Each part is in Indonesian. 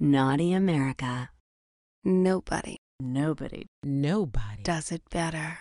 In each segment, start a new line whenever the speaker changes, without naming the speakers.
Naughty America.
Nobody
Nobody. Nobody.
does it better.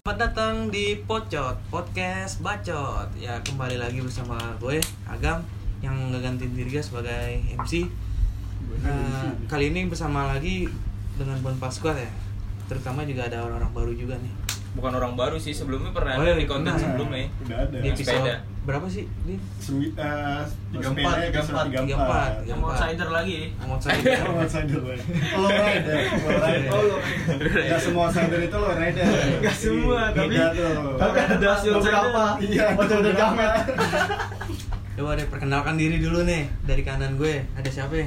Selamat datang di Pocot Podcast Bacot. Ya kembali lagi bersama gue Agam yang ngegantiin Dirga sebagai MC.
Iya,
Eh,
Nah,
kali ini bersama lagi dengan Bon Pasquat ya. Terutama juga ada orang-orang baru juga nih.
bukan orang baru sih sebelumnya pernah
Oh,
ada di
iya,
konten
pernah.
sebelumnya
Udah ada.
Di episode
Sepeda.
berapa sih? Di
Sembi- eh,
Tiga
sepeda
empat, tiga
episode
empat,
tiga
tiga
empat.
empat.
yang outsider lagi
Amot saya.
Oh, outsider lah. Oh, low rider. Low rider.
Oh, low
Nggak semua outsider itu low rider.
Nggak semua,
Beda
tapi-
tuh.
Tapi ada hasil
Beberapa.
cerdas.
Iya,
Betul udah gamet.
Coba deh perkenalkan diri dulu nih dari kanan gue. Ada siapa ya?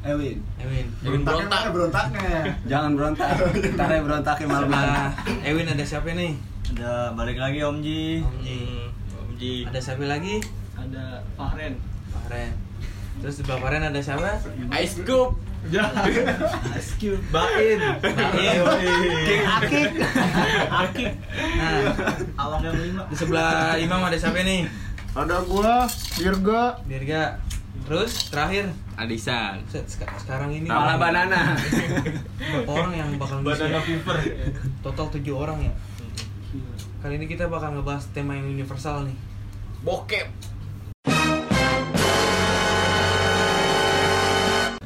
Ewin,
Ewin.
Ewin
Berontaknya
berontak.
mana berontaknya?
jangan berontak. Ntar ya berontaknya malam-malam.
Sama Ewin ada siapa nih?
Udah balik lagi Om Ji.
Om Ji.
Hmm, Om Ji.
Ada siapa lagi?
Iya. Ada Fahren.
Pak Ren. Terus di Bapak Ren ada siapa?
ice scoop
Ice Cube.
bain
Bain.
King
Akik. Akik.
Nah,
Awang yang lima.
di sebelah Imam ada siapa nih?
Ada gua, Dirga.
Dirga. Terus terakhir
Adisan
set, seka- sekarang ini
Pala banana.
Berapa orang yang bakal ngisi
Banana
ya?
fever.
Total 7 orang ya. Kali ini kita bakal ngebahas tema yang universal nih.
bokep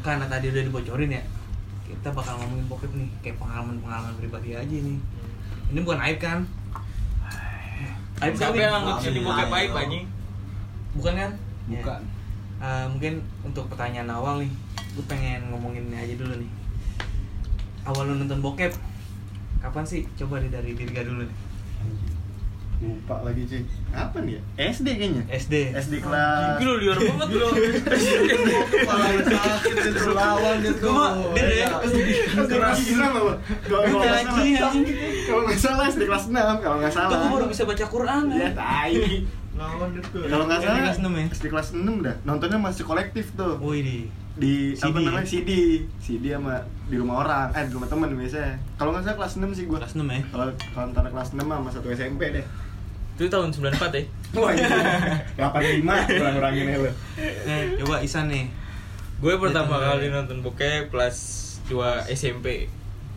Karena tadi udah dibocorin ya. Kita bakal ngomongin bokep nih, kayak pengalaman-pengalaman pribadi aja nih. Ini bukan aib kan? Aib
siapa
kali.
yang anggap jadi
Amin.
bokep baik anjing
Bukan kan?
Bukan.
Ya. Eh, mungkin untuk pertanyaan awal nih, gue pengen ngomongin ini aja dulu nih. Awal lu nonton bokep, kapan sih? Coba deh dari Dirga dulu nih.
Lupa lagi, Ci. Apa nih ya? SD kayaknya.
Eh,
SD.
SD kelas.
lu liar banget lu
Paling sakit itu lawan itu.
Gua mah, dia ya.
SD Iya. kelas enam apa? Kalau kalau nggak salah-
Anjing, anjing.
Kalau nggak salah SD kelas 6 kalau nggak
Itu
salah.
gue baru bisa baca Quran. kan?
Ya, tai.
Lawan itu.
Kalau nggak
SD
salah
kelas 6 ya?
SD kelas 6 dah. Nontonnya masih kolektif tuh.
Wih di.
di
CD,
apa namanya
ya?
CD CD sama di rumah orang eh di rumah temen biasanya kalau nggak salah kelas 6 sih gua
Kelas 6 ya?
kalau kalau antara kelas 6 sama satu SMP deh
itu tahun 94 ya
wah iya 85 kurang-kurangin ya lu
Nih, Eh, coba Isan nih.
gue pertama
Gitu.
Ditambah.
kali nonton bokep kelas 2 SMP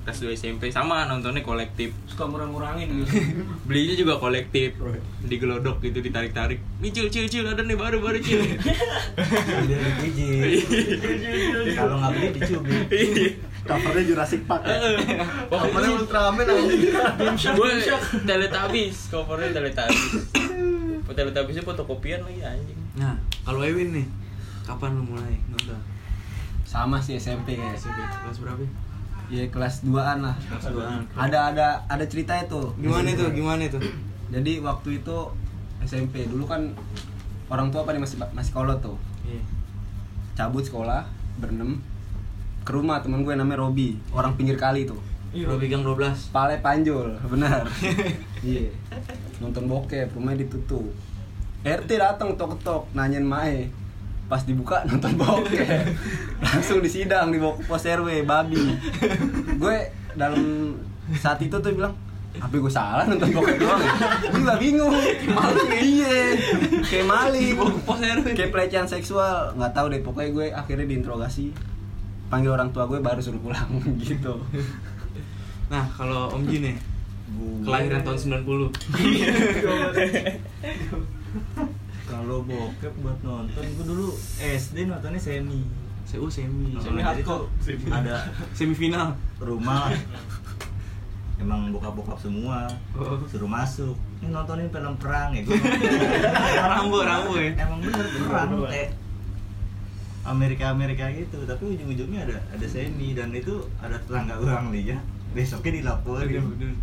kelas 2 SMP sama nontonnya kolektif
Suka murang-murangin gitu.
belinya juga kolektif digelodok gitu ditarik-tarik nih cil cil cil ada nih baru baru cil
Kalau nggak beli dicubit.
covernya Jurassic Park ya
Pokoknya
Ultraman aja
gue teletabis covernya teletabis Oh, teletabisnya fotokopian lagi anjing
Nah, kalau Ewin nih, kapan lu mulai nonton?
sama sih SMP ya
SD kelas berapa? ya?
ya kelas 2an lah
Kelas 2
ada ada ada ceritanya tuh
Gimana itu? Gimana itu?
jadi waktu itu SMP dulu kan orang tua pada masih masih kolot tuh
Iya.
cabut sekolah berenam ke rumah temen gue namanya Robi orang pinggir kali tuh
Robi Gang 12.
pale panjul benar iya nonton bokep rumahnya ditutup RT datang tok tok nanyain mae pas dibuka nonton bokep langsung disidang di bawah pos RW babi gue dalam saat itu tuh bilang apa gue salah nonton bokep doang ya?" gue juga bingung malu iya kayak maling kayak pelecehan seksual nggak tahu deh pokoknya gue akhirnya diinterogasi panggil orang tua gue baru suruh pulang gitu
Nah, kalau Om Jin nih, kelahiran tahun 90.
Kalau bokep buat nonton, gue dulu SD nontonnya semi.
CU oh, semi.
Semi
Jadi
hardcore.
tuh Ada
Semifinal.
rumah emang bokap-bokap semua
Oh.
suruh masuk ini nontonin film perang ya gue
Rambo, Rambo ya.
emang bener perang teh Amerika Amerika gitu
Iya,
tapi Iya, ujung-ujungnya ada ada semi dan itu ada tetangga orang lihat besoknya ya. dilaporin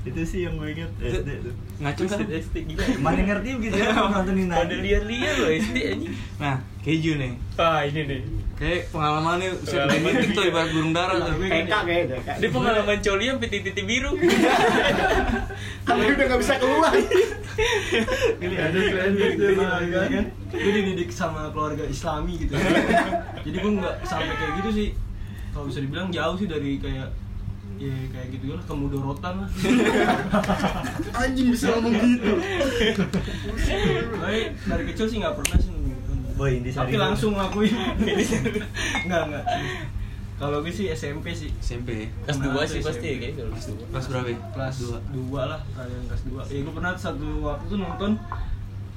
itu sih yang gue inget SD tuh
ngaco kan?
Buset, SD gila.
mana ngerti begitu ya
Iya.
kalau nontonin
Pada liar-liar loh SD anjing.
Nah, keju nih.
Ah, ini nih.
Kayak pengalamannya usia
Pengalaman.
detik tuh ibarat burung dara tuh.
PK kayaknya
Dia pengalaman coli yang titik-titik biru.
Tapi udah gak bisa keluar
Gini ada keren gitu keluarga kan Gue dididik sama keluarga islami gitu Jadi gue nggak sampai kayak gitu sih Kalau bisa dibilang jauh sih dari kayak Ya kayak gitu lah, kemudorotan lah
Anjing bisa ngomong gitu
Tapi
gitu.
dari kecil sih nggak pernah sih
Boy, ini
Tapi
sari-
langsung ngakuin Nggak, nggak Kalau gue sih SMP sih
SMP.
Kelas dua sih
Kenapa
pasti
SMP?
ya kayaknya kalau kelas dua.
Kelas berapa? ya?
kelas
Dua.
2 lah kalian kelas 2 ya gue pernah satu waktu tuh nonton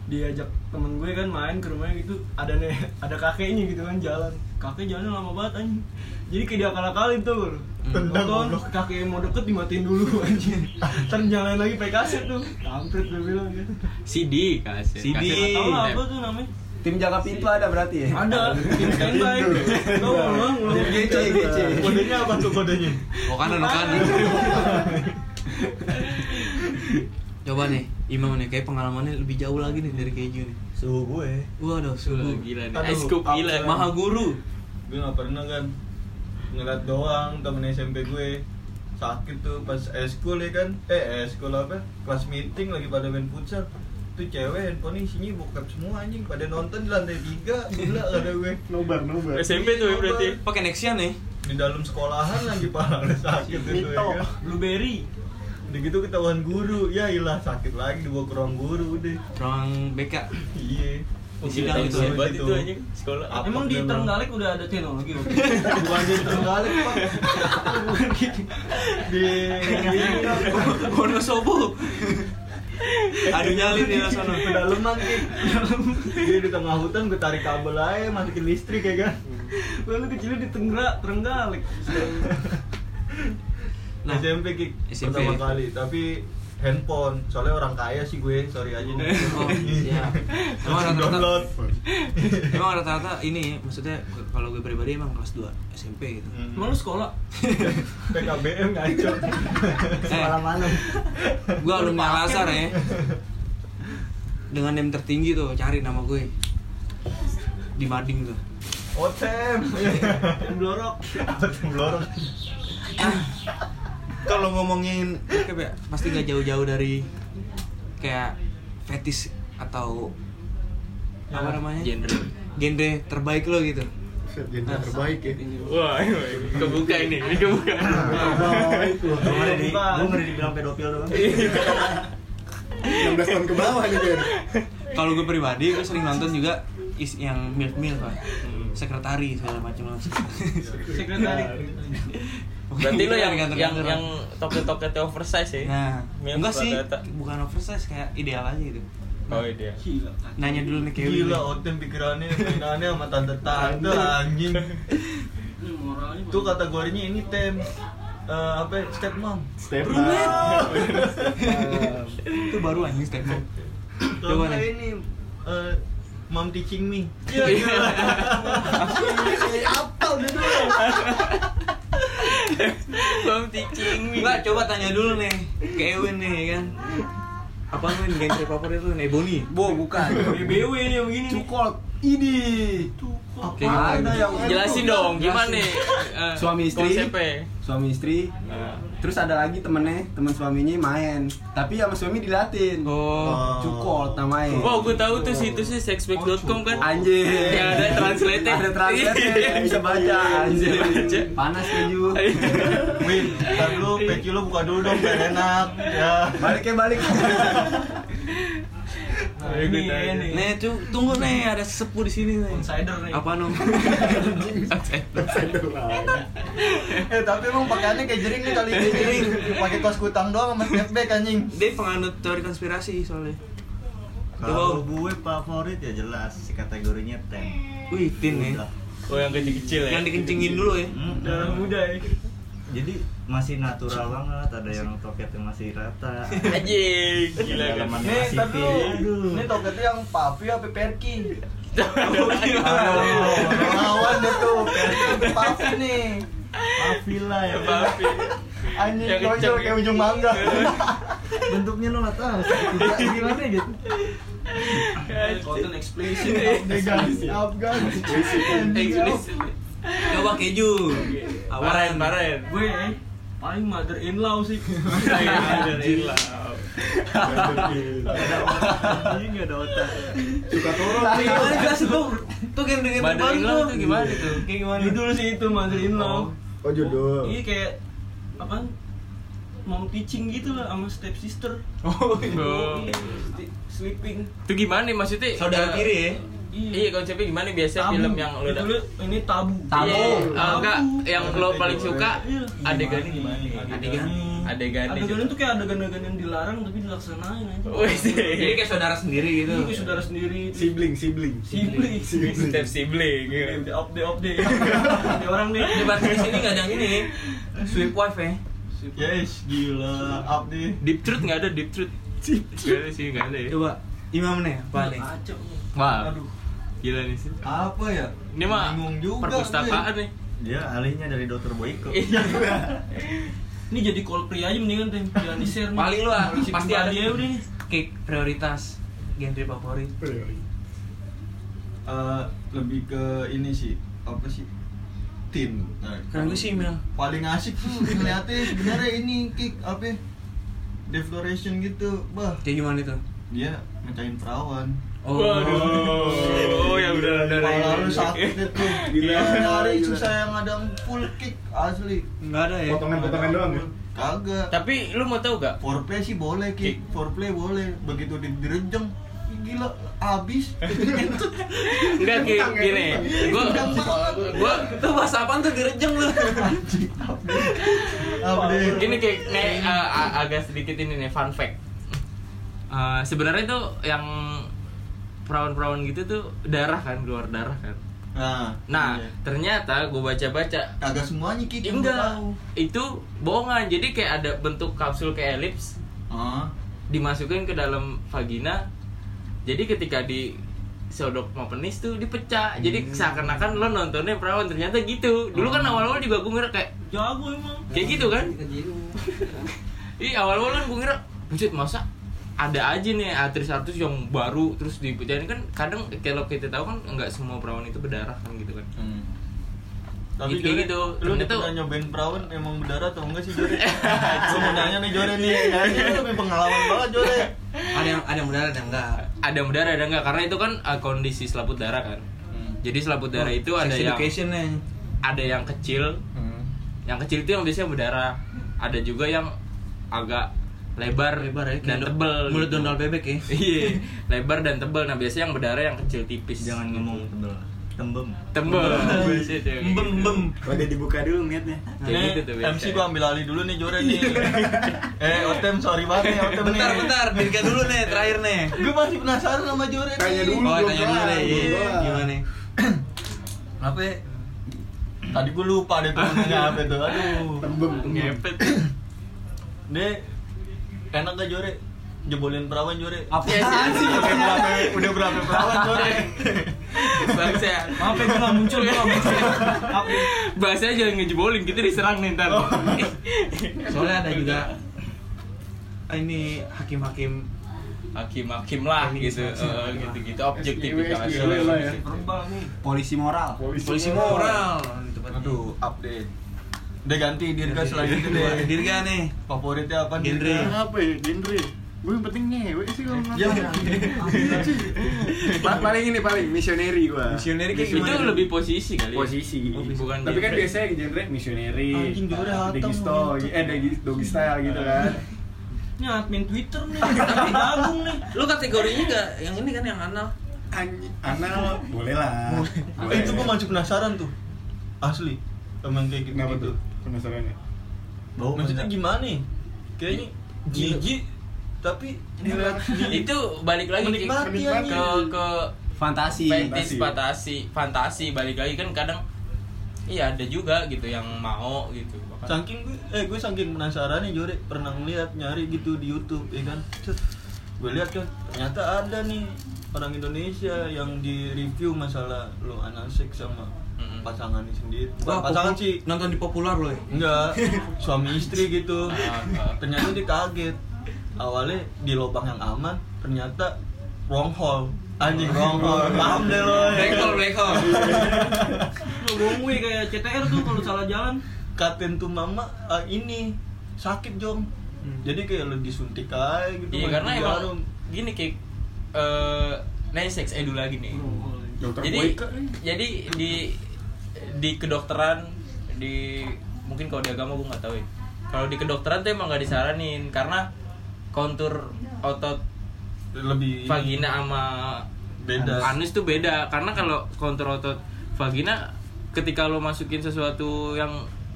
diajak temen gue kan main ke rumahnya gitu ada nih ada kakeknya gitu kan jalan kakek jalannya lama banget anjing jadi kayak diakal-akalin tuh lu
Tendang,
Nonton,
goblok.
kakek yang mau deket dimatiin dulu anjing Ntar nyalain lagi pakai kaset tuh Kampret gue bilang gitu
CD
ya.
kaset.
CD.
Kaset
Tau
atau
lah
lab.
apa tuh namanya
Tim jaga pintu ada berarti ya?
Ada, tim standby Lo ulang, ulang
Gece, gece.
iya, Kodenya apa tuh kodenya?
Oh kanan, oh kanan. Coba nih, Imam nih kayak pengalamannya lebih jauh lagi nih dari keju nih.
Suhu gue
Waduh,
Wah,
suhu.
Gila nih.
Aduh,
Ice scoop
apa
gila.
ya?
Mahal.
Maha guru.
Gue gak pernah kan Ngeliat doang temen SMP gue Sakit tuh pas eskul ya kan Eh eskul apa? Kelas meeting lagi pada main futsal Tuh cewek handphone isinya bokap semua anjing Pada nonton di lantai 3 Gila ada gue
Nobar, nobar
SMP tuh ya berarti.
Pakai Nexian nih.
Di dalam sekolahan lagi pala ada sakit itu ya
Mito.
kan
Blueberry
Udah gitu ketahuan guru Ya ilah sakit lagi dibawa ke ruang guru udah
Ruang BK.
Iya
Oh,
Isi
gila, itu
dalam itu. ya.
hebat
Gitu.
itu anjing sekolah.
Apa
Emang di
dia, Bang?
Terenggalek udah ada teknologi waktu itu?
Bukan di Terenggalek pak Bukan di- Di
Wonosobo. Aduh nyalin
Iya.
ya sono.
pedalaman Ki. Dia Iya, di tengah hutan gue tarik kabel aja masukin listrik ya kan
Lalu kecilnya di Tenggra, Terenggalek
Nah.
SMP Ki
SMP.
pertama kali tapi handphone soalnya orang kaya sih gue sorry aja nih
Oh, siap. Emang rata-rata-
Langsung download
Emang rata-rata ini maksudnya kalau gue pribadi emang kelas 2 SMP gitu.
Hmm.
Emang lu sekolah?
PKBM ngaco
Eh,
Malam-malam
Gue alumni Al-Azhar ya. Dengan name tertinggi tuh cari nama gue. Di Mading tuh.
Otem
Yang blorok
Otem lorong
Kalau ngomongin apa ya, pasti nggak jauh-jauh dari kayak fetis atau apa namanya?
Ya, Genre.
Genre terbaik lo gitu.
Genre terbaik ya
Wah, ini kebuka ini, ini kebuka.
Gue
ngeri di- gua ngeri
dibilang pedofil doang
16 tahun ke bawah nih Jen
Kalau gue pribadi, gue sering nonton juga is yang milf milf pak,
Hmm.
sekretari segala macam
Sekretari
Berarti lo yang
Kantor-kantor.
yang yang toket-toketnya oversize ya?
Nah,
Milf
enggak sih,
rata-rata.
bukan oversize kayak ideal aja gitu.
Oh iya.
Gila
Nanya dulu nih Kewi.
Gila Otem pikirannya mainannya sama tante-tante anjing
Ini moralnya
Itu kategorinya ini tem eh, apa ya? step mom
Step
Brunet.
up.
Nah. Itu baru anjing step up. Coba
Kalau enggak
nih.
ini eh, mom teaching me
Iya,
Bang teaching me.
Enggak, coba tanya dulu nih ke Ewin nih ya kan. Apa lu nih genre favorit lu nih Eh, Ebony?
Bo, bukan.
BBW nih yang begini nih
Cukol. Idi.
Oke.
Ada yang
Jelasin dong gimana nih eh,
Suami istri.
konsepnya.
Suami istri.
Nah.
Terus ada lagi temennya, teman suaminya main. Tapi sama suami dilatin.
Oh.
Cukol namanya.
Wow, gue tahu tuh situsnya sexback.com kan.
Anjir.
Yang ada translate-nya.
Ada translate yang bisa baca. Anjir.
Bisa baca.
Panas keju.
Win, ntar lu peci lu buka dulu dong biar enak ya.
Balik ya balik.
Nah
Ikut
ini
aja.
ini
Nih, cu- tunggu nih ada sesepuh di sini nih.
Insider nih
Apa nom?
Eh tapi emang pakaiannya kayak jering nih kali ini jering. Pakai kaos kutang doang sama snapback anjing.
Dia penganut teori konspirasi soalnya.
Kalau
Coba.
gue favorit ya jelas si kategorinya tem.
Wih, tin nih.
Oh, yang kecil-kecil ya.
Yang dikencingin dulu ya.
Darah muda ya
Jadi masih natural banget, ada yang toketnya masih rata.
Anjing, gila kan.
Dalamannya
Nih,
masih
ntar dulu.
pink. Aduh.
Ini
toketnya yang papi apa perki?
Aduh.
Lawan deh tuh, perki papi nih. Papi lah ya.
Maafin.
Anjing
Yang
kocok
kenceng
kayak
gitu.
ujung mangga.
bentuknya lo nggak tahu tidak gimana
ya,
gitu konten eksplisit
Degas, Afgan.
Explicit.
Coba keju.
Parahin, parahin.
gue paling mother in law sih
Alhamdulillah.
Anjing nggak ada otak
Suka turun.
Gimana jelas itu? Tuh game-game
Mother
terbaru
in law
tuh.
tuh gimana tuh?
Kayak gimana?
judul sih itu mother in law
Oh judul.
iya kayak apa mom teaching gitu lah sama step sister
Oh,
sleeping
Itu gimana nih maksudnya?
Saudara
eh,
tiri ya.
Iya, konsepnya gimana biasa
Tabu.
film yang lu udah
Judulnya ini tabu
Tabu.
Iya, ah, enggak, yang lo
Tabu.
paling suka
Iya.
adegannya gimana? Adegan adegan
adegan itu kayak adegan-adegan yang dilarang tapi dilaksanain aja
Wih, sih.
Jadi kayak saudara sendiri gitu.
Ini kayak saudara sendiri
Sibling, sibling.
sibling
step sibling.
Update, update, update. Update orang nih.
Di Bandung di sini nggak ada yang ini. Sweep wife ya.
Yes, gila, up nih.
Deep truth enggak ada deep truth. Gak ada sih, gak ada ya.
Coba imam nih paling.
Kacau nih.
Wah,
Aduh,
gila nih sih.
apa ya?
Ini mah
bingung juga. ya.
perpustakaan nih.
Dia alihnya dari Dr. Boyko.
Ini jadi call free aja mendingan tuh jangan di share nih.
Paling lu ah,
Polisi
pasti ada.
pribadi ya udah nih.
Kayak prioritas genre favorit.
Eh, lebih ke ini sih, apa sih? Tim. Nah,
Keren gue sih Mel.
paling asik tuh ngeliatnya sebenarnya ini kick apa? ya? Defloration gitu, bah.
Kayak gimana itu?
Dia mecahin perawan.
Oh.
Waduh. Oh, ya udah udah.
Malah lu sakit itu.
Gila.
Nyari
Gila.
susah yang ada full kick asli.
Enggak ada ya.
Potongan-potongan doang ya.
Kagak.
Tapi lu mau tahu gak?
Foreplay sih boleh,
Kick.
Ki. Foreplay boleh. Begitu di- direjeng, ih, gila abis.
Enggak Ki,
Kentang, ya,
gini.
kentang.
Gua
Kentang banget.
gua
Itu bahasa apaan tuh gerejeng lu?
Abis.
gini kayak nih eh, a- agak sedikit ini nih fun fact. Eh, sebenarnya tuh yang perawan-perawan gitu tuh darah kan keluar darah kan.
Nah,
Nah,
iya.
ternyata gue baca-baca
kagak semuanya Ki yang
enggak
tahu.
itu bohongan. Jadi kayak ada bentuk kapsul kayak elips
Ah,
dimasukin ke dalam vagina. Jadi ketika di sodok sama penis tuh dipecah. Jadi seakan-akan lo nontonnya perawan ternyata gitu. Dulu kan awal-awal juga gue ngira kayak
Jago emang.
kayak gitu kan. Ih awal-awal kan gue ngira buset masa ada aja nih artis-artis yang baru terus dipecahin kan kadang kalau kita tahu kan nggak semua perawan itu berdarah kan gitu kan.
hmm.
Gitu- kayak
Jore,
gitu.
lu
Ternyata-
pernah nyobain perawan emang berdarah atau enggak sih Jore? Gue mau nanya nih Jore
Iya,
nih, kayaknya lu punya pengalaman banget Jore.
Ada yang ada yang benar ada yang enggak.
Ada yang berdarah ada nggak karena itu kan eh, kondisi selaput darah kan.
Hmm.
Jadi selaput darah itu
Oh, Sex
ada yang
education nih.
ada yang kecil,
Hmm.
yang kecil itu yang biasanya berdarah. Ada juga yang agak lebar,
Lebar ya.
dan
kayak
tebel.
Mulut
gitu.
dondol bebek ya.
Iya, lebar dan tebal. Nah biasanya yang berdarah yang kecil tipis.
ngomong tebel. Tembem.
tebel. Buset, ya, kayak gitu.
Udah dibuka dulu niatnya.
Kayak
Ini
gitu tuh Iya. biasanya.
MC gua ambil alih dulu nih Jore nih. eh, Otem sorry banget ya Otem nih.
Bentar bentar, Dirga dulu nih terakhir nih.
Gue masih penasaran sama Jore
Tanya
nih.
dulu.
Oh,
belum
tanya dulu
kelar,
deh.
belum
iya.
kelar.
Gimana nih?
Apa? ya? Tadi gue lupa deh tuh nanya apa tuh. Aduh.
Tembem.
Ngepet.
Deh, enak gak Jore? Jebolin perawan Jore.
Apa sih?
Udah berapa? Udah berapa perawan Jore?
Bangsa.
Maaf ya gue nggak muncul gue nggak muncul. Maaf ya.
Bahasanya jangan ngejebolin, kita diserang nih ntar.
Oh. Soalnya ada juga ah, ini hakim-hakim
Hakim-hakim lah gitu, eh, gitu-gitu objektifikasi.
SJW lah ya.
Verbal nih.
Polisi moral.
polisi
Iya.
moral di tempat
Aduh, update. Udah ganti Dirga selanjutnya
ini.
deh.
Dirga nih.
ya. Favoritnya Iya, apa
Genre.
Dirga?
Apa ya, genre? Gue yang penting ngewe sih kalau
Ya.
Pa- Iya. paling ini paling misioneri gua.
Misioneri
Itu
kayak gimana?
lebih posisi kali. ya?
posisi.
Bukan
Tapi kan
genre.
biasanya genre misioneri.
Anjing, genre hatam.
Doggy style, eh doggy, doggy style gitu kan.
Ini admin Twitter nih. Tapi Agung nih.
Lu kategorinya enggak yang ini kan yang anal.
Anjing, anal boleh lah.
Eh, itu gue masih penasaran tuh. Asli. Emang kayak gitu.
Kenapa
gitu.
tuh? Penasarannya.
Bau Maksudnya gimana nih? Kayaknya jijik tapi ngeliat jijik.
itu balik lagi Ki,
Menikmati
ke
anjing.
ke
Fantasi.
fetish
Fantasi.
fantasi fantasi balik lagi kan kadang iya ada juga gitu yang mau gitu Bahkan-
Saking gue, eh gue saking penasaran nih Jore pernah ngeliat nyari gitu di YouTube, ya kan? Cet, gue lihat kan ternyata ada nih orang Indonesia yang di review masalah lo anal sex sama
Mm-mm.
pasangannya sendiri
Wah,
Bukan pasangan
popu-
sih
Nonton di populer loh. ya.
Enggak, suami istri gitu.
Ah, ah.
Ternyata dia kaget. Awalnya di lubang yang aman, ternyata wrong hole. Anjing wrong hole. Paham deh lo. ya.
Black hole, black hole.
Lu bohong weh, kayak CTR tuh kalau salah jalan.
Katin tuh mama ah, ini sakit jong. Jadi kayak lu disuntik aja gitu.
Iya
masukin
karena emang
jarum.
gini kayak eh nah ini seks edu lagi nih.
Dokter
Jadi
Boyke. eh.
jadi di di kedokteran di mungkin kalau di agama gue nggak tahu ya. Kalau di kedokteran tuh emang nggak disaranin karena kontur otot
lebih ini,
vagina sama
beda.
anus tuh beda karena kalau kontur otot vagina ketika lo masukin sesuatu yang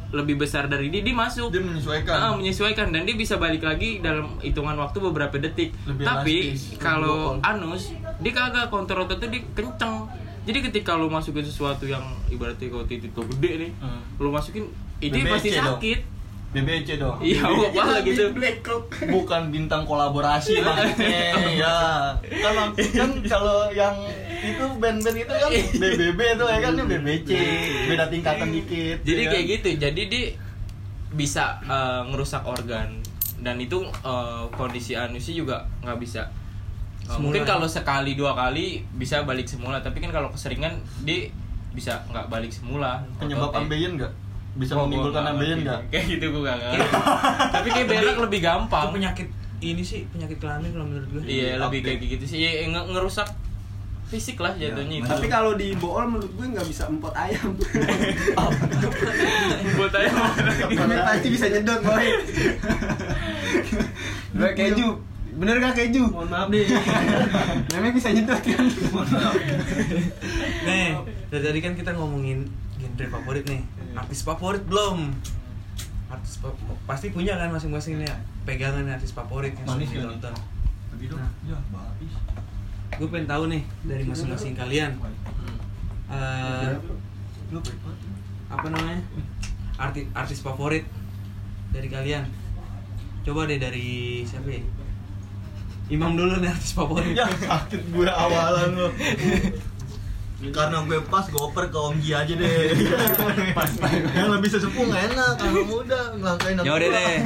lebih besar dari dia dia masuk
Dia menyesuaikan.
Ah, menyesuaikan dan dia bisa balik lagi dalam hitungan waktu beberapa detik.
Lebih
Tapi
elastis, lebih
kalau
bokol.
anus dia kagak kontur otot tuh dia kenceng. Jadi ketika lo masukin sesuatu yang ibaratnya kalau titik lo gede nih,
Hmm.
lo masukin itu
BBC
pasti
dong. Oh.
sakit.
BBC dong.
Iya, apa gitu. Iya.
Bukan bintang kolaborasi maksudnya. ya. Kan waktu- kan kalau yang itu band-band itu kan
Iya.
BBB itu ya kan ini BBC. Beda tingkatan dikit.
Jadi
ya kan?
kayak gitu. Jadi dia bisa eh, ngerusak organ dan itu eh, kondisi anusnya juga nggak bisa. Eh,
Semula.
mungkin kalau sekali dua kali bisa balik semula, tapi kan kalau keseringan dia bisa nggak balik semula.
Penyebab
Ototnya.
ambeien nggak? Bisa
Wah, gua
menimbulkan
nggak
ambeien
ngerti
nggak?
deh. Kayak gitu gue nggak ngerti. Tapi kayak berak lebih gampang.
Itu penyakit ini sih penyakit kelamin kalau menurut gue.
Iya lebih
Update. Iya,
kayak gitu sih. Iya, nge- ngerusak fisik lah jatuhnya itu.
Tapi kalau di bool menurut gue nggak bisa empot ayam.
buat aja mau lagi.
Ini pasti bisa nyedot boy. Gue keju. Bener gak keju?
Mohon maaf deh.
Memang bisa nyedot kan?
Nih, dari tadi kan kita ngomongin genre favorit nih. Artis favorit belum? Artis fa- pasti punya kan masing-masing nih ya, pegangan artis favorit yang
Manis
sering
ya,
ditonton.
Tapi dong, ya habis.
Gue pengen tahu nih dari masing-masing kalian eh,
Iya.
Lu baik banget.
apa namanya? Artis artis favorit dari kalian. Coba deh dari siapa ya? Imam dulu nih artis favorit.
Ya sakit gue awalan lo. Karena gue pas goper ke Om Gi aja deh. pas yang lebih sesepuh nggak enak, kalau muda ngelangkain
Ya udah deh.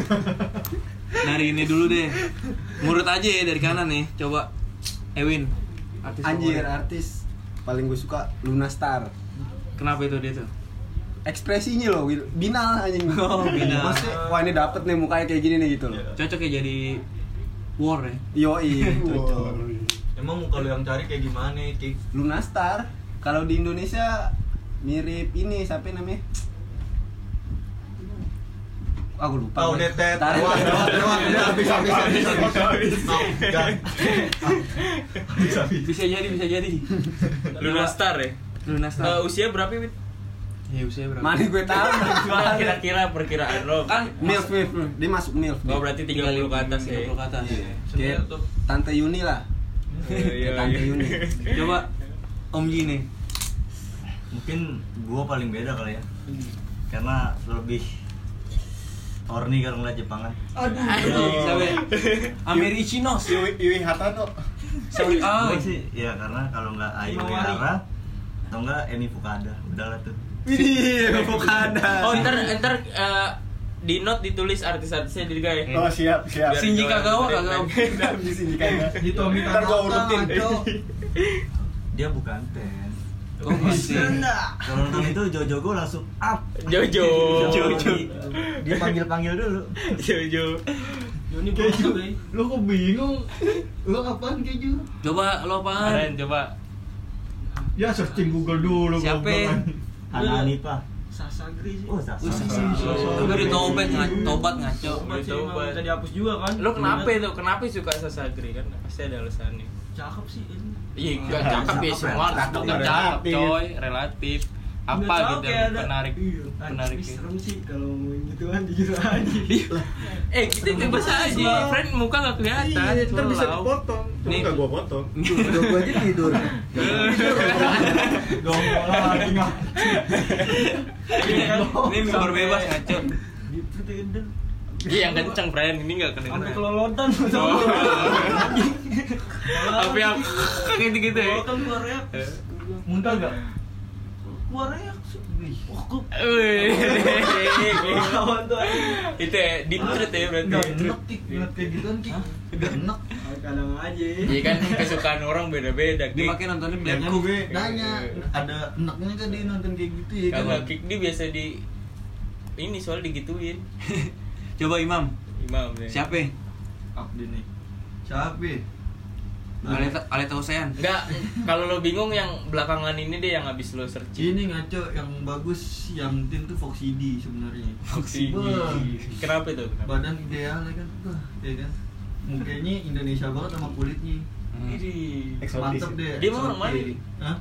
Dari ini dulu deh. Menurut aja ya dari kanan nih. Coba Ewin. Artis ya?
Anjir
favorit.
artis paling gue suka Luna Star.
Kenapa itu dia tuh?
Ekspresinya loh, Wil. binal anjing.
Oh, binal.
Maksudnya, wah ini dapet nih mukanya kayak gini nih gitu loh.
Cocok ya jadi war ya.
Iya,
Yoi, cocok.
Emang kalau yang cari kayak gimana, Cik?
Luna Star kalau di Indonesia mirip ini siapa namanya? Aku lupa.
Tahu netet.
Tarik.
Wah, lewat, lewat, udah habis, habis, habis, habis, habis. Maaf, enggak. Habis, habis.
Bisa jadi, bisa jadi.
Luna Star ya. Eh,
Luna Star.
usia berapa Wit?
ya usia berapa?
Mana gue tahu.
Cuma kira-kira perkiraan lo.
Kan
Milf, milf, milf. dia masuk milf.
Oh
dia.
berarti 30 ke atas ya.
30 ke atas.
Iya. Kayak Tante Yuni lah.
Iya,
Kayak Tante
iya.
Yuni.
Coba Om Ji nih.
mungkin gua paling beda kali ya karena lebih horny kalau ngeliat kan. Jepangan
Siapa? ya? Amir Ichinos.
Iwi, Iwi Hartano.
Sorry,
Gua
ah.
sih ya karena kalau nggak Ayu
Himawari.
Yara atau nggak Eni Fukada udahlah tuh
Widih, Iya, bukan.
Oh ntar ntar eh, di note ditulis artis-artisnya di guys.
Oh siap siap.
Biar
Shinji Kagawa,
biar-
Kagawa.
biar-
Di sini kayaknya.
Di Tommy
ya. Ntar gua urutin.
dia bukan ten
Oh, masih.
kalau nonton itu Jojo gua langsung up
Jojo.
Jojo dia panggil panggil dulu
Jojo.
Joni bocah deh.
Lu kok bingung? Lu apaan keju?
Coba lo
Kalian
apaan?
coba.
Ya searching Google dulu
Siapa?
Iya,
goblok.
Hana Anipa
Sasagri sih.
oh sasa
Wih, sasa. Itu udah tobat, nga- tobat ngaco.
Tobat sih, Ya, emang
Tobat.
minta dihapus juga kan.
Lo kenapa itu? Kenapa suka Sasagri kan? Pasti ada alasannya.
Cakep sih ini.
Iya, gak cakep ya
cakep
semua
ya,
cakep
cakep.
gak cakep coy, relatif. Apa
Nggak
gitu
cakep
yang
ada.
menarik?
Iya. Ah,
Menarik. ya?
tapi serem sih kalau ngomongin gitu kan gitu aja.
Eh, kita bebas aja. Friend muka gak kelihatan.
Ntar bisa
Slow.
dipotong. Cuma
Nih.
nggak gua potong.
Udah gue aja tidur.
Gombol lagi nggak?
kan?
Ini mimbar bebas ngaco.
Gitu tuh Eden.
Iya, yang kenceng friend, ini gak kenceng.
Sampai kelolotan sama.
Oh. Tapi yang kayak gitu-gitu ya.
Kelolotan keluar reak.
Eh.
Muntah nggak?
Keluar reak.
Wah, kok
Wih.
kawan tuh
itu ya deep truth ya berarti
Nggak enak, Tik. Ngeliat kayak gituan, Tik. Nggak enak.
kadang aja
Iya kan kesukaan orang beda-beda.
Dia
Kik.
makin nontonnya
Dan
Black
gue nanya, ada enaknya kan dia nonton kayak gitu ya kan?
Kalau kick dia biasa di ini soal digituin.
Coba Imam,
Imam ya.
siapa?
Abdi nih
Siapa? ya?
Aleta Aleta Husein.
Enggak, kalau lo bingung yang belakangan ini deh yang habis lo searching.
Ini ngaco yang bagus yang tim tuh Foxy D sebenarnya.
Foxy.
Wah,
Kenapa itu? Kenapa?
Badan ideal ya kan, Wah, ya kan. Mukanya Indonesia banget sama kulitnya.
Ini.
Hmm.
Eksotis.
Mantep deh.
Dia mau orang mana?
Sorti. Hah?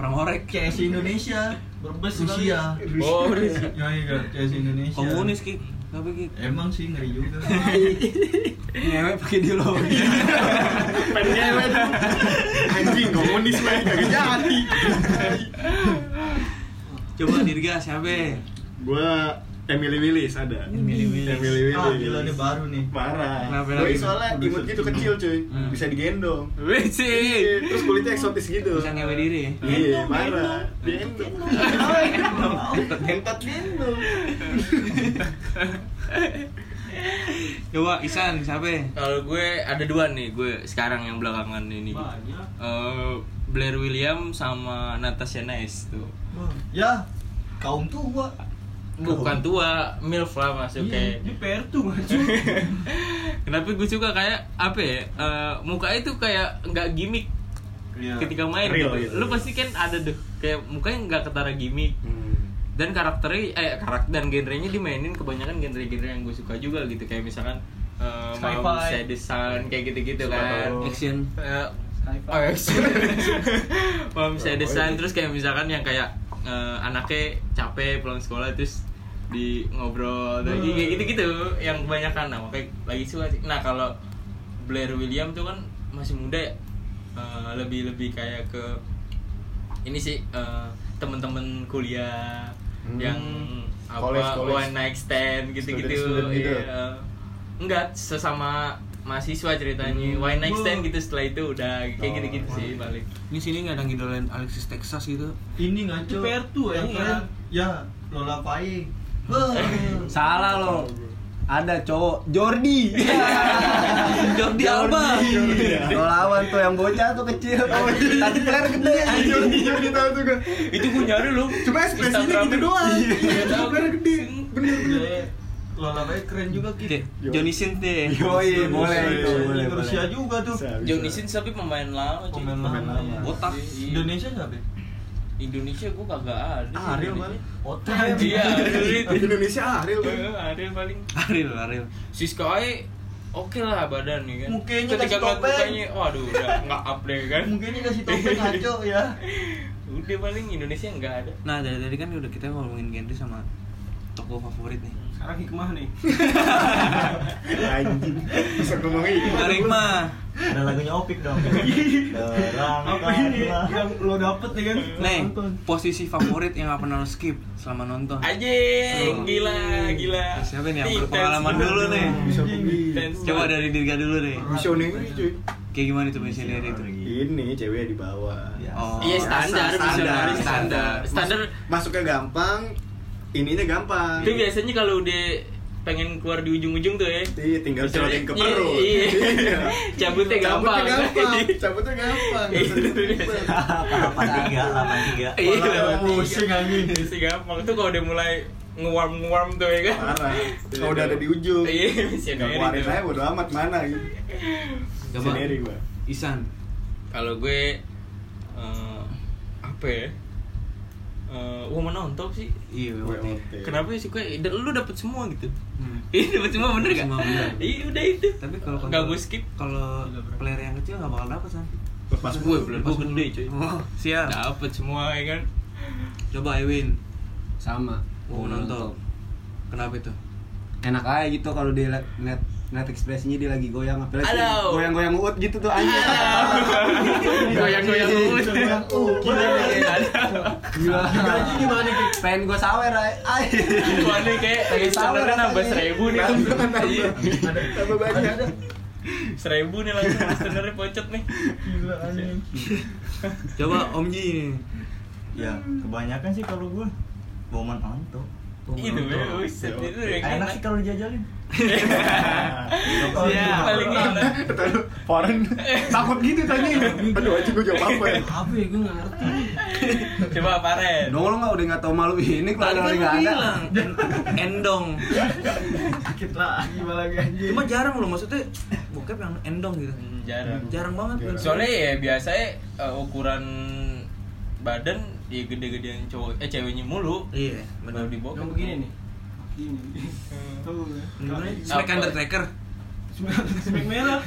Orang horek.
CS Indonesia,
berbes kali
Rusia.
Oh, udah sih.
Ya iya, CS Indonesia.
Komunis Ki. Tapi Ki.
Emang sih ngeri juga.
Ngewe pakai ideologi.
Pengen
Anjing komunis gue kagak jadi.
Coba Dirga siapa?
Gue Emily Willis ada. Emily Willis. Emily
Ah, gila nih baru nih.
Parah.
Kenapa lagi?
Doi soalnya imut gitu kecil cuy,
Hmm.
bisa digendong.
Wih
Iya,
eh.
sih.
Iya,
Terus kulitnya eksotis gitu.
Bisa ngewe diri ya?
Iya, parah.
Iya,
Digendong. Entot gendong.
Coba Isan siapa?
Kalau gue ada dua nih, gue sekarang yang belakangan ini.
banyak
Eh, Blair William sama Natasha Nice tuh.
Ya, kaum tua.
Bukan tua, milf lah masuk kayak.
Iya,
ini PR tuh
Kenapa gue suka kayak apa ya? muka itu kayak nggak gimmick
Iya.
ketika main.
Real,
gitu.
iya.
Lu pasti kan ada tuh kayak mukanya nggak ketara gimmick
Hmm.
dan karakternya eh karakter dan genrenya dimainin kebanyakan genre-genre yang gue suka juga gitu kayak misalkan eh mau
Sci-fi.
sedesan kayak gitu-gitu kan.
Action.
Eh, Oh, ya, Paham saya desain terus kayak misalkan yang kayak eh, anaknya capek pulang sekolah terus di ngobrol dan kayak gitu-gitu yang kebanyakan nah makanya lagi suka sih. Nah, kalau Blair William tuh kan masih muda ya. Eh, lebih-lebih kayak ke ini sih eh, temen-temen kuliah
Hmm.
yang apa
College, college.
one night stand gitu-gitu.
Student-student gitu.
Iya. Enggak sesama mahasiswa ceritanya. Why next time gitu setelah itu udah kayak
Hmm. Oh,
gitu-gitu sih
iya.
balik.
Ini sini nggak ada ngidolain Alexis Texas gitu.
Ini ngaco.
Itu PR tuh,
yang
ya.
keren. Ya, Lola Pae. Wah.
Salah lo. Ada cowok Jordi.
Jordi Alba. Oh, iya.
Lo lawan tuh yang bocah tuh kecil. Tadi player gede.
Jordi Jordi Iya, tahu tuh gue.
Itu gue nyari lu.
Cuma ekspresinya gitu doang.
Iya, tahu. Iya.
Bener gede. Bener bener.
Lola Pae keren juga
Deh,
gitu.
Johnny Sin deh.
Yoi, boleh itu, boleh.
Rusia
boleh.
juga tuh.
Johnny Sins tapi pemain lama cuy.
Pemain lama.
lama.
Botak.
Iya.
Indonesia siapa?
Indonesia gue kagak ada.
Ah, Ariel
paling.
paling.
Otak.
Iya, Ariel itu.
Indonesia Ariel kan.
Eh, Ariel paling.
Aril, Aril.
Sisko Ae oke lah badan ya kan.
Mukanya
Ketika
kasih
ngeliat
topeng.
mukanya, waduh udah nggak up deh kan.
Mungkin ini kasih topeng ngaco ya.
Udah paling Indonesia nggak ada.
Nah, dari tadi kan udah kita ngomongin genre sama toko favorit nih.
sekarang hikmah nih
Anjing. Bisa gitu. ngomongin.
Tarik mah.
Ada lagunya Opik dong. Iya.
apa ini yang lo dapet nih kan
Nih,
Nonton.
posisi favorit yang gak pernah lo skip selama nonton.
Anjing,
Oh.
gila, gila.
Ya, Siapa nih yang
Ini
berpengalaman
intense
dulu nih?
Bisa
Intense
Coba
banget.
dari Dirga dulu deh.
Misioner cuy.
Iya.
Kayak gimana tuh misalnya dari itu?
Ini cewek di bawah.
Oh,
Iya standar,
Biasa,
standar,
standar.
standar, standar.
Masuknya gampang, ininya gampang.
Itu biasanya kalau udah pengen keluar di ujung-ujung tuh ya.
Iya, tinggal
Misalnya-
celotin ke
Iya,
perut.
iya.
Iya.
Cabutnya gampang.
Cabutnya gampang. Cabutnya gampang. Nggak usah ribet.
Lapan tiga, lapan tiga.
Iya,
Malah
lewat tiga.
pusing, anjing.
Iya sih gampang tuh kalau udah mulai ngewarm-ngewarm tuh ya kan.
Parah. Kalau udah ada di ujung.
Iya, misalnya
Gak
dari
keluarin
tuh.
saya bodo amat mana gitu.
Coba.
Sendiri gua.
Isan.
Kalau gue eh, apa ya? Eh, woman on top sih.
Iya, berarti.
WOT.
Kenapa sih gue? Dan lu dapet semua gitu.
Hmm.
Iya dapet semua bener gak?
Semua bener.
Iya udah itu.
Tapi kalau
nggak gue skip.
kalau player yang kecil gak bakal dapet san.
Pas gue bener gue gede cuy.
Oh, siap.
Dapet semua ya kan.
Coba Ewin.
Sama.
Oh,
Hmm.
Mau nonton. Kenapa itu?
Enak aja gitu kalau dia li- liat liat ekspresinya dia lagi goyang apalagi
Aduh.
goyang-goyang uut gitu tuh anjing.
Goyang-goyang mulut.
Oh,
Gila. Gaji gimana Ki? Pengen gua sawer ay.
Tuannya kayak
Pengen sawer
sebenarnya nambah
rasanya.
seribu nih. Iya,
Tambah banyak.
Seribu nih langsung sebenarnya pocet nih.
Gila anjing.
Coba Om Ji nih.
Ya, kebanyakan sih kalau gua Boman Anto.
Itu ya, kan? buset, itu yang
Enak sih kalau dijajalin.
Iya, paling enak.
Foreign takut gitu tanya. Aduh anjing gue jawab apa ya?
apa ya gue nggak ngerti
Coba Paren.
Dongol nggak udah nggak tahu malu ini
Tadi
keluarga
kan
udah
lu
nggak ada.
bilang en- endong.
Sakit lah.
gimana lagi anjing
Cuma jarang loh maksudnya bokep yang endong gitu.
Hmm, Jarang.
Jarang banget men.
Soalnya ya biasanya eh, ukuran badan ya gede-gedean cowok eh ceweknya mulu.
Iya, benar.
Baru dibawa.
yang begini nih ini tuh
Gimana? Smack
Apa?
Undertaker.
smek
Iya
merah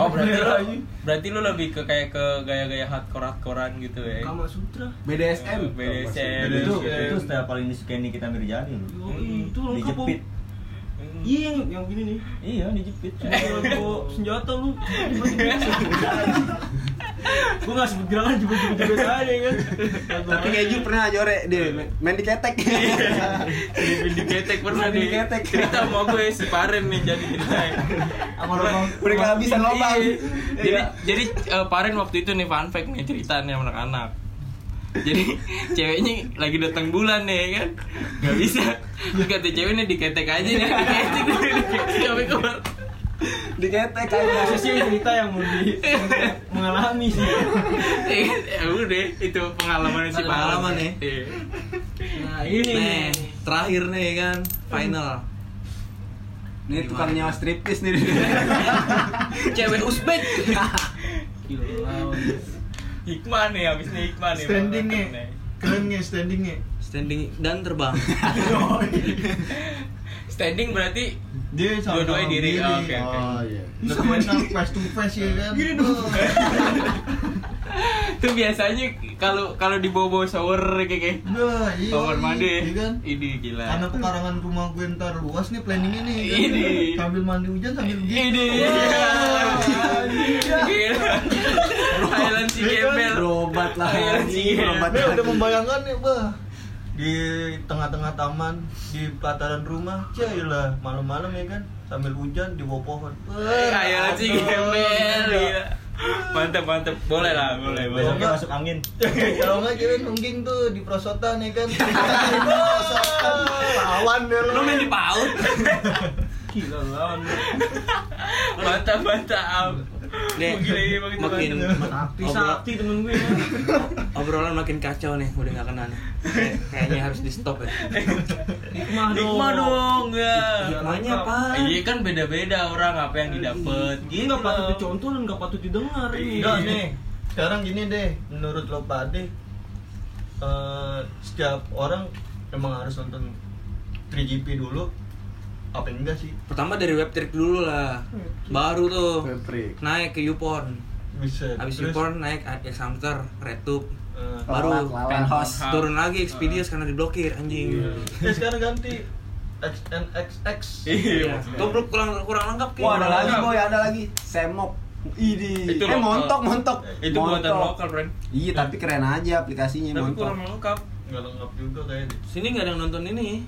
Oh berarti
Merah,
lo,
anjing.
berarti lo lebih ke kayak ke gaya-gaya hardcore hardcorean gitu ya?
kama sutra
BDSM.
Eh, BDSM.
Itu
BDSM.
itu style paling disukai Nikita Mirjani loh.
Yoi, itu lengkap Om.
Dijepit.
iya yang yang gini nih
Iya, dijepit.
Kalau bawa senjata lu Gue gak sebut gerakan jebet-jebet aja kan
Tapi keju pernah jorek dia main- main di ketek.
Iya. Di ketek pernah
Di
di
ketek.
cerita sama gue si Paren nih jadi ceritain.
Sama lubang.
Udah kehabisan lobang.
Iya. Jadi jadi eh, Paren waktu itu nih fun fact nih ceritanya sama anak-anak. Jadi ceweknya lagi datang bulan nih kan Gak bisa Terus kata ceweknya diketek aja nih Diketek diketek sampai keluar
Di ketek aja.
Kasusnya cerita yang mau di mengalami sih
Eh, Ya udah itu pengalaman si
Ada
Paren
pengalaman ya?
Iya.
Nah ini
Nih, terakhir nih kan final.
Ini tukang nyawa striptis nih.
Cewek Uzbek.
Gila
Hikmah nih abis nih hikmah nih
Standing nih. Keren nggak standingnya?
Standing dan terbang.
Standing berarti
Dia sama
Dua-duanya diri, oh,
diri.
oke, oke.
Oh, iya. Lebih enak face to face ya kan. Gini dong.
itu biasanya kalau kalau di bobo shower kayak kayak
Nah, iya.
kamar mandi
iya kan?
ini gila
Karena pekarangan rumah gue ntar luas nih planningnya nih. kan?
Ini.
Sambil mandi hujan sambil gitu. Iya. begini.
ini Iya. gila Thailand si gembel
Berobat lah.
Iya,
anjing,
iya.
Berobat
Nih udah
lagi.
membayangkan nih, Bah. Di tengah-tengah taman, di pelataran rumah, lah malam-malam ya kan, sambil hujan di bawah pohon.
Eh,
Thailand si gembel
Iya.
gila mantep mantep boleh lah boleh boleh
Besoknya masuk angin.
Kalau nggak kira nungging tuh di prosotan ya kan. Di prosotan. Lawan deh
Lu main di PAUD.
Gila lawan
mantap mantap
Nih,
Gila, iya, makin
makin
Sakti
obro-
sakti temen gue ya.
obrolan makin kacau nih, udah nggak kena nih. Kayak- Kayaknya harus di stop ya.
Hikmah dong
Hikmah dong ya
Hikmahnya apa?
iya kan beda beda orang apa yang didapat
Ini
gitu
gak patut
loh.
dicontoh dan gak patut didengar
Iya.
Iya, ini
Enggak nih. Sekarang gini deh, menurut lo Pade eh, setiap orang emang harus nonton 3GP dulu apa enggak sih?
Pertama dari web trick dulu lah. Baru tuh
Freak.
naik ke YouPorn.
Bisa.
Habis
Terus,
YouPorn naik Examter, RedTube.
eh,
Baru
Lalat, lalat.
penthouse.
Lalat.
Turun lagi Expedias karena diblokir anjing.
Ya,
eh, sekarang ganti XNXX.
iya
Tuh belum kurang kurang lengkap
Wah ada lagi
Iya.
Mantap.
boy, ada lagi. Semok. Idi.
Itu
Eh
lokal.
montok, montok.
itu
Montok.
buatan lokal friend
Iya, tapi keren aja aplikasinya
tapi
montok.
kurang lengkap
Enggak lengkap juga kayaknya.
Sini nggak ada yang nonton ini.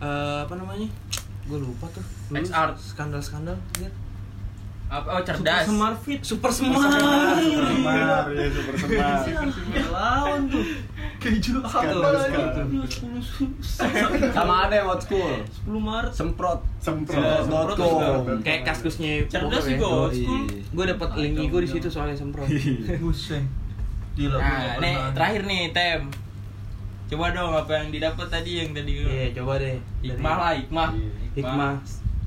Eh, apa namanya? Gue lupa tuh. Dulu
XR.
skandal-skandal. Lihat.
Apa- oh
Super
cerdas
Smart Fit
Super Smart.
Semar, ya super semar.
Iya, Lawan tuh Keju apa
Skandal,
lagi
skandal.
Sama ada yang old school.
10 Maret
Semprot.
Semprot.
Semprot.
Kayak kaskusnya.
cerdas juga Nah, old
Iya,
school
Gue dapat link gue di situ soalnya Iya, semprot.
Buset. Gila, gua nggak
nah nih
pernah.
terakhir nih tem coba dong apa yang didapat tadi yang tadi
Iya, coba deh. Dari-
hikmah lah hikmah
Hikmah.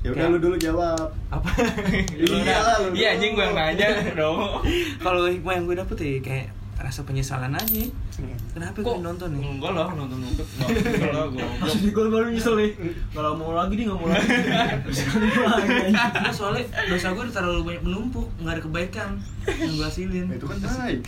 Ya udah lu dulu jawab.
Apa?
iya
Iyalah, lu
iya anjing gue yang nanya dong
Kalau hikmah yang gue dapet ya kayak rasa penyesalan aja.
Iya.
Kenapa gue nonton ya?
enggak lah nonton nonton enggak lah gue
Masuk di gol baru nyesel nih Kalau mau lagi nih gak mau lagi Sekali lagi
Karena soalnya dosa gue udah terlalu banyak menumpuk, nggak ada kebaikan yang gue hasilin.
Nah, itu kan baik.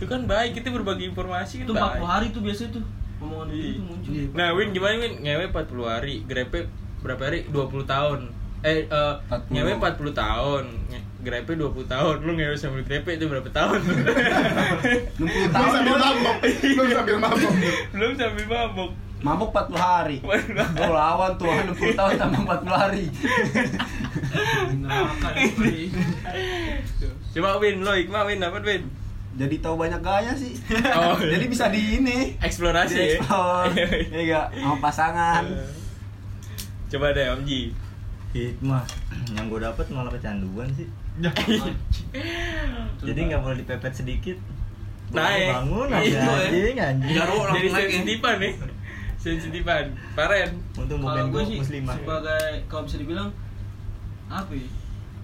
itu kan baik itu berbagi informasi kan
Itu 40
baik
hari tuh biasanya tuh Omongan itu tuh muncul
nah Win gimana Win ngewe 40 hari grepe berapa hari 20 tahun eh eh,
40.
ngewe 40 tahun nge- grepe 20 tahun lu ngewe sambil grepe itu berapa tahun
60
Lu
tahun.
sambil mabok. Lu sambil mabok.
belum sambil mabok
Mabuk 40 hari. Lu lawan tuh 60 tahun tambah 40 hari.
Neraka ya, Pak.
Coba Win, lo Iqma Win, dapat Win
jadi tahu banyak gaya sih
Oh.
jadi bisa di ini
Eksplorasi ya?
Iya,
Dieksplor. ya enggak sama pasangan
Coba deh Om Ji.
Hikmah yang gue dapet malah kecanduan sih.
Ya,
Jadi nggak boleh dipepet sedikit.
Naik.
Bangun
Iya,
aja.
boleh.
Anjing anjing.
Jarum langsung
Jadi
naik ya.
sensitifan nih. Sensitifan. Paren.
Untung
kalau
bukan
gue
gue
sih
muslimah.
sebagai kalau bisa dibilang apa ya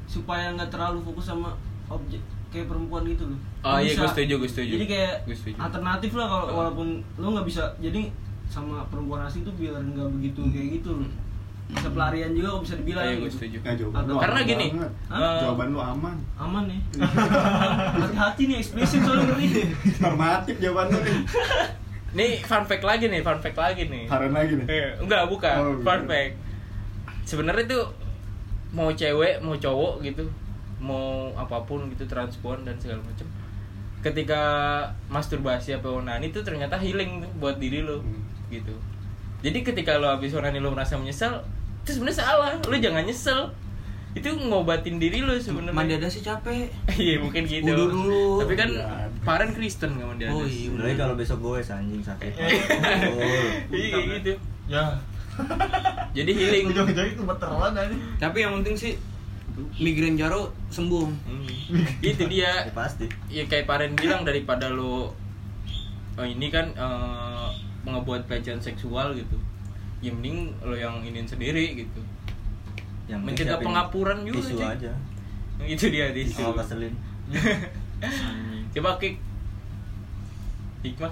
supaya nggak terlalu fokus sama objek kayak perempuan gitu loh
Oh
Lu
iya,
bisa-
gue setuju, gue setuju.
jadi kayak
Gue setuju.
alternatif lah kalau
Oh.
walaupun lu nggak bisa jadi sama perempuan asing tuh biar nggak begitu kayak gitu loh bisa pelarian juga kalau bisa dibilang
Iya, gue
gitu.
setuju.
Ya, jawaban lu
Karena
aman
gini,
banget.
eh,
jawaban lu aman.
aman nih hati-hati nih eksplisit soalnya ngeri
Normatif jawaban lu nih.
Nih fun fact lagi nih, fun fact lagi nih.
Saran lagi nih.
Eh, enggak, bukan.
Oh,
fun
bukan.
fact. Sebenarnya tuh mau cewek, mau cowok gitu, mau apapun gitu transpuan dan segala macam. Ketika masturbasi apa onani itu ternyata healing tuh buat diri lo
Hmm.
gitu. Jadi ketika lo habis onani lo merasa menyesal, itu sebenarnya salah. Lo jangan nyesel. Itu ngobatin diri lo sebenarnya.
mandi ada sih capek
Iya mungkin gitu.
Wudhu dulu.
Tapi kan
Iya.
Paren Kristen nggak mandi
Oh,
atas.
iya.
Sebenarnya kalau besok gue anjing sakit.
Iya kayak gitu.
ya
Jadi healing.
Iya.
ujung-ujungnya kebetulan aja
tapi yang penting sih migrain jaro sembuh
Hmm. Itu
Ya,
dia.
pasti.
Ya kayak Paren bilang daripada lo oh, ini kan eh, ngebuat pelecehan seksual gitu. Ya mending lo yang ingin sendiri gitu.
Yang penting
Mencegah
siapin
pengapuran juga,
Tisu
Cik.
aja.
Itu dia di
Sama vaselin.
Coba kick. Hikmah.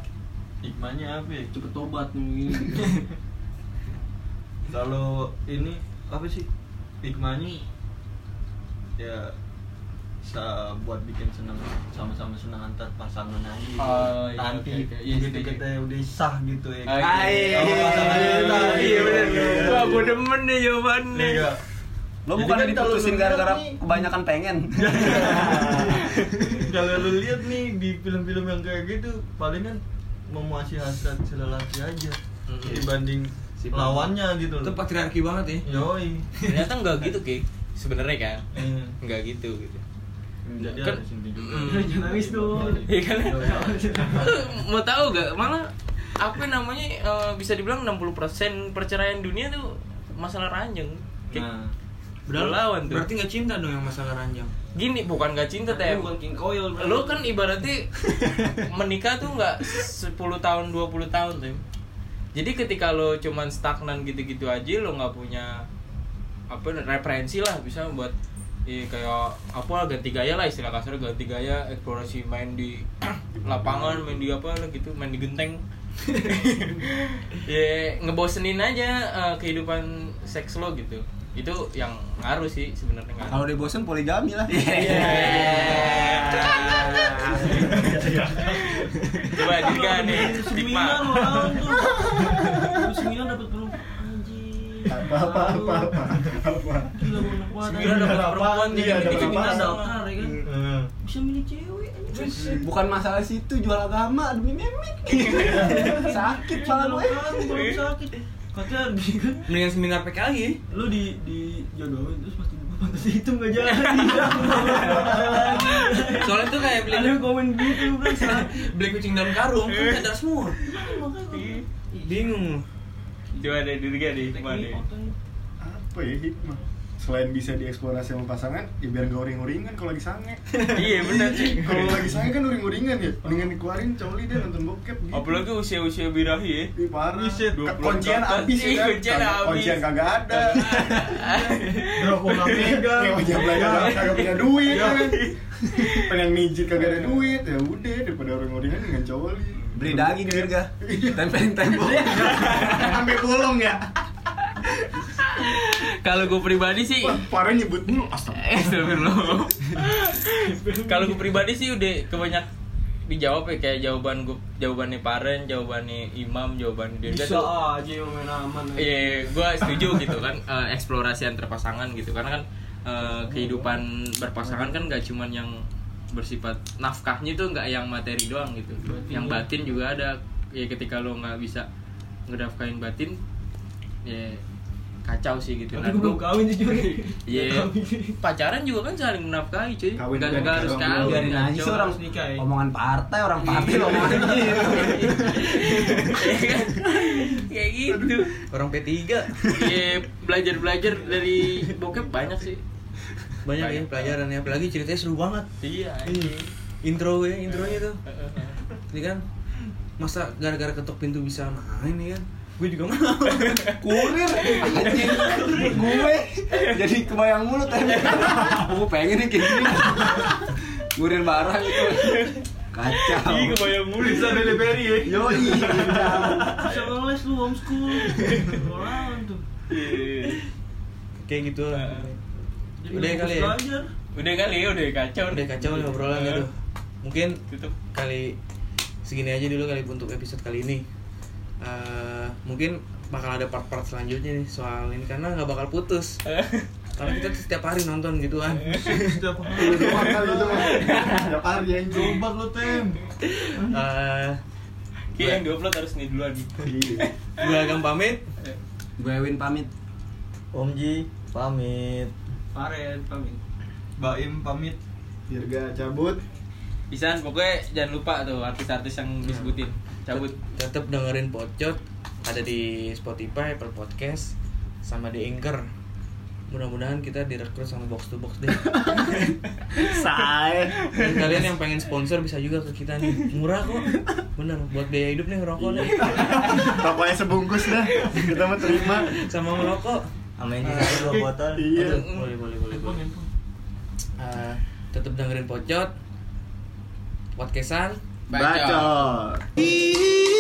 hikmahnya apa ya
cepet tobat nih
kalau ini apa sih hikmahnya ya bisa buat bikin senang sama-sama senang antar pasangan aja
Oh, iya,
nanti
oke, oke. Iya,
gitu
setuju.
kita udah sah gitu ya
Oke.
Iya,
Oh, Iya
iya,
bener.
iya, iya.
Wah, gue demen nih jawabannya.
Iya.
lo
Jadi
bukan
kan kalau lu
diputusin
bilang
gara-gara
nih-
kebanyakan pengen
kalau lu lihat nih di film-film yang kayak gitu palingan memuasi hasrat si lelaki aja
Mm-mm.
dibanding
Si perempuan.
lawannya gitu
itu
loh
patriarki banget ya
yoi
Ternyata nggak gitu, Ki. Sebenarnya kan
Eh,
nggak gitu gitu.
jadi
Kan-
ada sini juga
Mm.
Jangan nangis dong.
Iya kan? Lu mau tahu gak? Malah apa namanya eh, bisa dibilang 60% perceraian dunia tuh masalah ranjang. Kayak
nah
lawan tuh.
berarti nggak cinta dong yang masalah ranjang
Gini bukan gak cinta teh.
Lu bukan king coil bro.
Lo kan ibaratnya menikah tuh nggak 10 tahun 20 tahun tuh. Jadi ketika lo cuman stagnan gitu-gitu aja lo nggak punya apa referensi lah bisa buat ya, kayak apa ganti gaya lah istilah kasar ganti gaya eksplorasi main di lapangan main di apa lah gitu main di genteng ya ngebosenin aja eh, kehidupan seks lo gitu itu yang ngaruh sih sebenarnya ngaruh.
kalau dia bosen poligami lah
Iya. Coba Dika nih, Dikma.
seminar orang tuh. Lu seminar dapat belum? Anjing.
Apa apa apa apa. apa.
Gila gua anak kuat.
Seminar dapat perempuan
Iya,
nih,
dapat
dikit-dikit
Seminar
apa?
daftar ya kan.
eh.
Bisa milih cewek anjing.
bukan masalah situ jual agama demi memek sakit pala eh. gue
eh.
kan,
Orang
Iya.
baru sakit. Katanya di
iya
mendingan seminar PKI ya.
lu di di jodohin terus pasti dibuka pantas hitam gak jalan.
soalnya tuh kayak beli
Ada yang komen gitu bro sakit.
beli kucing dalam karung kan cadar semua
Makanya
bingung
Coba deh Dika nih, Dikma
gua
nih.
Apa ya hikmah? Selain bisa dieksplorasi sama pasangan, ya biar gak uring-uringan kalau lagi sange.
Iya bener sih.
Kalau lagi sange kan uring-uringan ya. Mendingan dikeluarin coli deh nonton bokep gitu.
Apalagi usia-usia birahi ya.
Ih, parah.
Buset,
Ke-
20
kuncian
kata.
habis
Ih,
ya kan?
kuncian
Kagak-
habis.
Kuncian kagak ada.
Bro, gua nggak
Iya.
megang.
Ya wajah belanja kagak- kagak punya duit ya kan. Pengen mijit kagak ada duit. Ya udah daripada uring-uringan dengan Iya. coli.
beli
Iya.
daging juga tempelin tembok
Sampai bolong ya.
Kalau gue pribadi sih,
Wah, parah nyebut mulu astagfirullah.
eh astagfirullah. Kalau gue pribadi sih udah kebanyak dijawab ya kayak jawaban gue jawabannya Paren, jawabannya Imam, jawaban Dirga
Bisa
tuh
aja yang main aman.
Iya, gue setuju gitu kan eh, eksplorasi antar pasangan gitu karena kan eh, kehidupan berpasangan kan gak cuman yang bersifat nafkahnya tuh nggak yang materi doang gitu, yang batin juga ada. Ya ketika lo nggak bisa ngedafkain batin, ya kacau sih gitu.
Tapi
Nah,
gue belum
gua-
kawin jujur
Iya.
Belum kawin.
Pacaran juga kan saling menafkahi cuy.
Kawin
Nggak-
juga
nggak harus
dikawin.
kawin.
Biarin aja
kacau.
seorang harus nikah ya Iya.
Omongan partai, orang partai lo omongan gitu.
Kayak gitu.
Orang P3
Iya, belajar-belajar dari bokep banyak sih.
banyak ya pelajarannya apalagi ceritanya seru banget
Iya.
intro ya intronya tuh ini kan masa gara-gara ketok pintu bisa main nih kan gue juga mau
Kurir anjing. Gue jadi kebayang mulu tadi. Gue pengen nih kayak gini. Kurir barang itu. Kacau.
kebayang mulu
Bisa delivery ya
Yoi.
Bisa ngeles lu homeschool Orang tuh
kayak gitu lah
eh.
Jadi
Udah
fokus
kali ya?
belajar.
Udah kali ya, udah kacau.
udah kacau nih obrolan aduh mungkin
Tutup.
kali segini aja dulu kali untuk episode kali ini Eh, mungkin bakal ada part-part selanjutnya nih soal ini karena nggak bakal putus karena kita tuh setiap hari nonton gitu kan. gituan
Setiap
Lu
hari
doang Ya, kali itu mah. Ada kali yang
eh, Coba lu tem
Eh,
Kayak yang diupload harus nih duluan.
Iya.
gue agam pamit
Gue Win pamit.
Om Ji pamit.
Paren pamit
Baim pamit
Dirga cabut.
Bisa pokoknya jangan lupa tuh artis-artis yang disebutin. Cabut.
tetap dengerin pocot ada di Spotify, Apple Podcast, sama di Anchor. Mudah-mudahan kita direkrut sama Box to Box deh.
Say.
Dan kalian yang pengen sponsor bisa juga ke kita nih. Murah kok. Bener buat biaya hidup nih ngerokok nih.
Pokoknya sebungkus dah. Kita mau terima.
Sama ngerokok.
Amin Ji satu dua botol.
Iya.
Aduh, Boleh, boleh, boleh. boleh. Eh, tetap dengerin pocot. Podcastan.
Bacot.